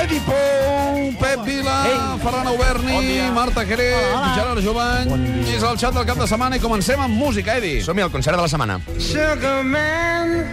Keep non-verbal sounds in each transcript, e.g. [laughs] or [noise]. Pou, Pep Vila, hey. Ferran Auberni, bon Marta Jerez, Hola. Gerard Jovany. Bon dia. és el xat del cap de setmana i comencem amb música, Edi. Som-hi al concert de la setmana. Sugar man,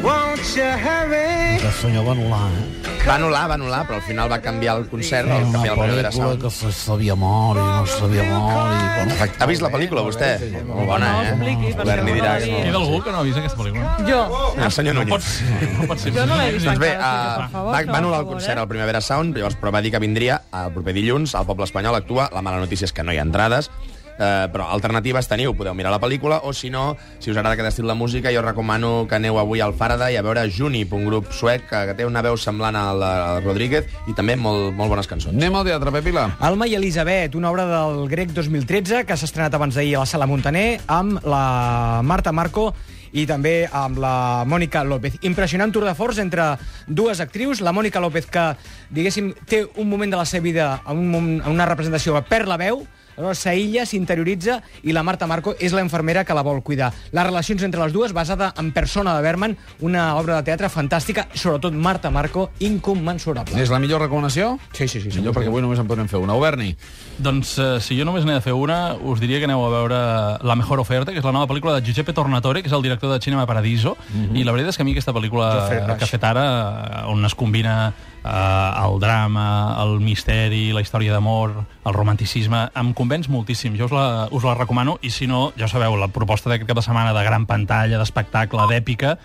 won't you hurry? Que senyor va anul·lar, eh? Va anul·lar, va anul·lar, però al final va canviar el concert, el Una canviar el Rivera pel·lícula Sound. que se s'havia mort i no s'havia mort i... Bueno, Ha vist la pel·lícula, vostè? Molt bona, No, eh? expliqui, perquè Berni no dirà la que vi. Queda algú que no ha vist aquesta pel·lícula? Jo, El senyor Núñez. No pot ser. jo no l'he vist. Doncs bé, encara, o sigui que, uh, per favor, va, no, va anul·lar el per favor, concert eh? al Primavera Sound, llavors però va dir que vindria el proper dilluns, al Poble Espanyol actua, la mala notícia és que no hi ha entrades, eh, però alternatives teniu, podeu mirar la pel·lícula, o si no, si us agrada aquest estil de música, jo recomano que aneu avui al Farada i a veure Junip, un grup suec que, que té una veu semblant a la a la Rodríguez i també molt, molt bones cançons. Anem al teatre, Pep Vila. Alma i Elisabet, una obra del grec 2013 que s'ha estrenat abans d'ahir a la Sala Montaner amb la Marta Marco i també amb la Mònica López. Impressionant tour de forç entre dues actrius. La Mònica López, que, diguéssim, té un moment de la seva vida en, un, mom- en una representació que perd la veu, aleshores s'aïlla, s'interioritza, i la Marta Marco és la infermera que la vol cuidar. Les relacions entre les dues, basada en Persona de Berman, una obra de teatre fantàstica, sobretot Marta Marco, incommensurable. És la millor recomanació? Sí, sí, sí. Millor perquè avui només en podrem fer una. Auberni. Doncs eh, si jo només n'he de fer una, us diria que aneu a veure La mejor oferta, que és la nova pel·lícula de Giuseppe Tornatore, que és el director de Cinema Paradiso, i la veritat és que a mi aquesta Jofre pel·lícula Rush. que Mhm. ha fet ara, eh, on es combina eh, el drama, el misteri, la història d'amor, el romanticisme, em convenç moltíssim. Jo us la, us la recomano, i si no, ja sabeu, la proposta d'aquest cap de setmana de gran pantalla, d'espectacle, d'èpica,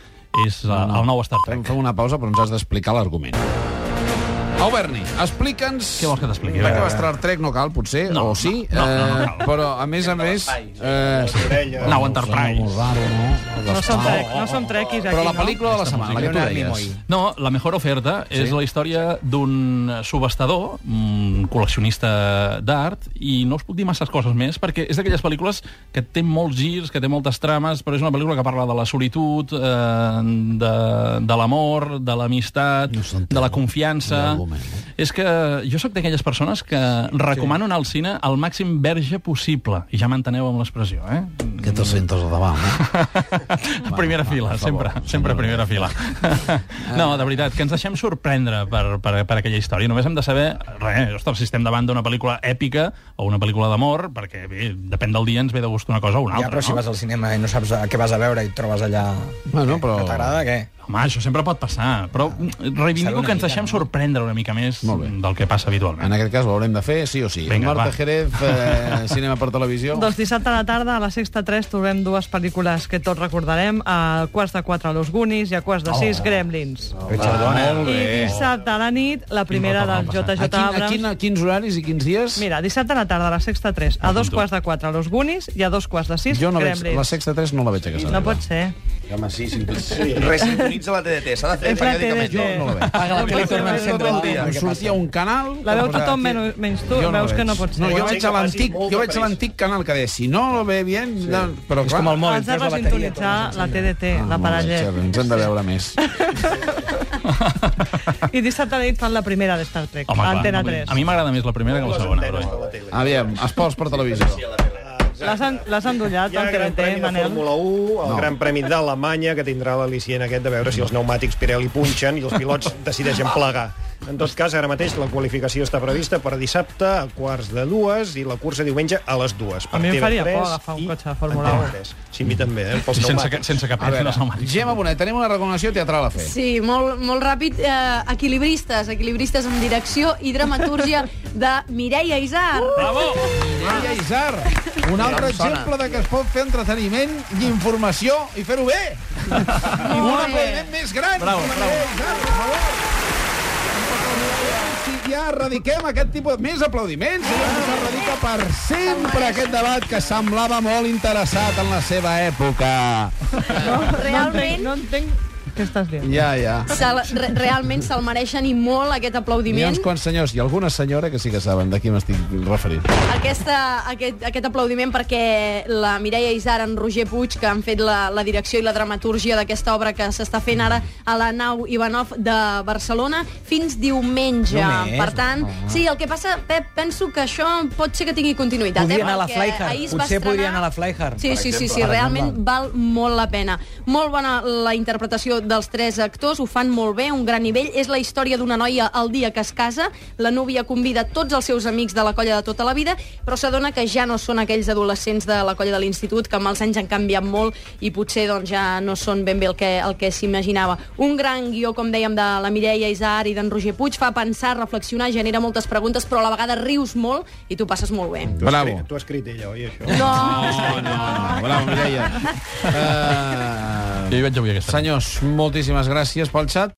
és eh, el nou Star Fem, Trek. fem una pausa, però ens has d'explicar l'argument. Auberni, explica'ns... Què vols que t'expliqui? Perquè Vinga. va Star Trek no cal, potser, No, o sí, eh, no, no, no, no cal. però a més a més... Eh, Nou sembla Enterprise. molt raro, no? No som, trec, no som trequis aquí, però la no? pel·lícula de la setmana, la que tu Leonard deies. Nimoy. No, la mejor oferta sí? és la història d'un subestador, un col·leccionista d'art, i no us puc dir masses coses més, perquè és d'aquelles pel·lícules que té molts girs, que té moltes trames, però és una pel·lícula que parla de la solitud, eh, de, de l'amor, de l'amistat, No s'entén. de la No confiança... hi ha argument, eh? És que jo sóc d'aquelles persones que recomano anar al cine al màxim verge possible, i ja m'enteneu amb l'expressió, eh? Que te sentes a davant, no? A primera fila, sempre, sempre a primera fila. No, de veritat, que ens deixem sorprendre per, per, per aquella història. Només hem de saber, res, ostres, si estem davant d'una pel·lícula èpica o una pel·lícula d'amor, perquè bé, depèn del dia ens ve de gust una cosa o una altra. Ja, però si no? Oh. vas al cinema i no saps a què vas a veure i et trobes allà... Bueno, però- Que t'agrada, què? Home, això sempre pot passar, però reivindico Saber una que ens mica, deixem no? sorprendre una mica més Molt bé. del que passa En habitualment. aquest cas ho haurem de fer, sí o sí. Vinga, Marta va. Jerez, eh, cinema per televisió. Doncs dissabte a la tarda, a la sexta 3, trobem dues pel·lícules que tots recordarem, a quarts de 4 Los Goonies i a Oh. quarts de 6 Gremlins. Richard Ah. Donner. I dissabte a la nit, la primera del JJ a, quin, a Abrams. quin, a quins horaris i quins dies? Mira, dissabte a la tarda, a la sexta 3, a dos quarts de 4 Los Goonies i a dos quarts de 6 jo no veig, Gremlins. la sexta 3 no la veig a casa No meva. pot ser. Home, sí, sí. Resintonitza la TDT, s'ha de fer És la periòdicament. TDT. No la veig. Paga la tele i torna al Tot centre. el dia. Em sortia un canal... La que veu posava tothom aquí. menys, menys tu, Jo no la veus que veig. no pot ser. No, jo vaig a l'antic, jo vaig a l'antic canal que deia, si no lo ve bien... No, però És clar, Ah, com el mòbil, Has de treus la bateria... i resintonitzar tornes a la TDT, eh, la Ah, Molt bé, parellet. Xerri, Ens hem de veure [laughs] més. I dissabte a la nit fan la primera de Star Trek, [laughs] Home, a clar, Antena no, 3. a mi m'agrada més la primera que la segona. Però... bé. Aviam, esports per televisió. L'has en- L'has endollat, Hi ha al el Gran TDT, Premi de Manel. Fórmula 1, el No. no. Gran Premi d'Alemanya, que tindrà l'al·licient aquest de veure si els pneumàtics Pirelli punxen i els [laughs] pilots decideixen plegar. En tot cas, ara mateix la qualificació està prevista per dissabte a quarts de dues i la cursa diumenge a les dues. Per A mi em faria TV3 por agafar un i cotxe de Fórmula Antena 1. 3. Sí, a mi també, eh? Pels Sí, sense, pneumàtics. que- sense cap A veure, pena, [laughs] no, Mari. Gemma Bonet, tenim una recomanació teatral a fer. Sí, molt, molt ràpid. Eh, equilibristes, equilibristes amb direcció i dramatúrgia de Mireia Isar. Uh! Bravo! Mireia Isar, un altre em sona. exemple de que es pot fer entreteniment i informació i fer-ho bé. I un Molt bé. aplaudiment més gran. Bravo, bravo. Isar, per favor. Si ja erradiquem aquest tipus de... Més aplaudiments! Si ja s'erradica per sempre aquest debat que semblava molt interessat en la seva època. Realment, No entenc què estàs dient. Ja, ja. se, re, realment se'l mereixen i molt Hi aquest ha aplaudiment. uns quants senyors i alguna senyora que sí que saben de qui m'estic referint. Aquesta, aquest, aquest aplaudiment perquè la Mireia Isar, en Roger Puig, que han fet la, la direcció i la dramatúrgia d'aquesta obra que s'està fent ara a la nau Ivanov de Barcelona fins diumenge. Només? Ah. per tant, sí, el que passa, Pep, penso que això pot ser que tingui continuïtat. Podria eh? anar a la perquè ahir Flyhard. es va Potser podria estrenar- anar a la Flyhard. Sí, sí, sí, sí, realment val molt la pena. Molt bona la interpretació dels tres actors, ho fan molt bé, un gran nivell. És la història d'una noia el dia que es casa, la núvia convida tots els seus amics de la colla de tota la vida, però s'adona que ja no són aquells adolescents de la colla de l'institut, que amb els anys han canviat molt i potser doncs, ja no són ben bé el que, el que s'imaginava. Un gran guió, com dèiem, de la Mireia Isar i d'en Roger Puig, fa pensar, reflexionar, genera moltes preguntes, però a la vegada rius molt i tu passes molt bé. Bravo. Tu has escrit ella, oi, això? No, No, no, no. Bravo, Mireia. Jo Uh, hi vaig avui aquesta. senyors, moltíssimes gràcies pel xat.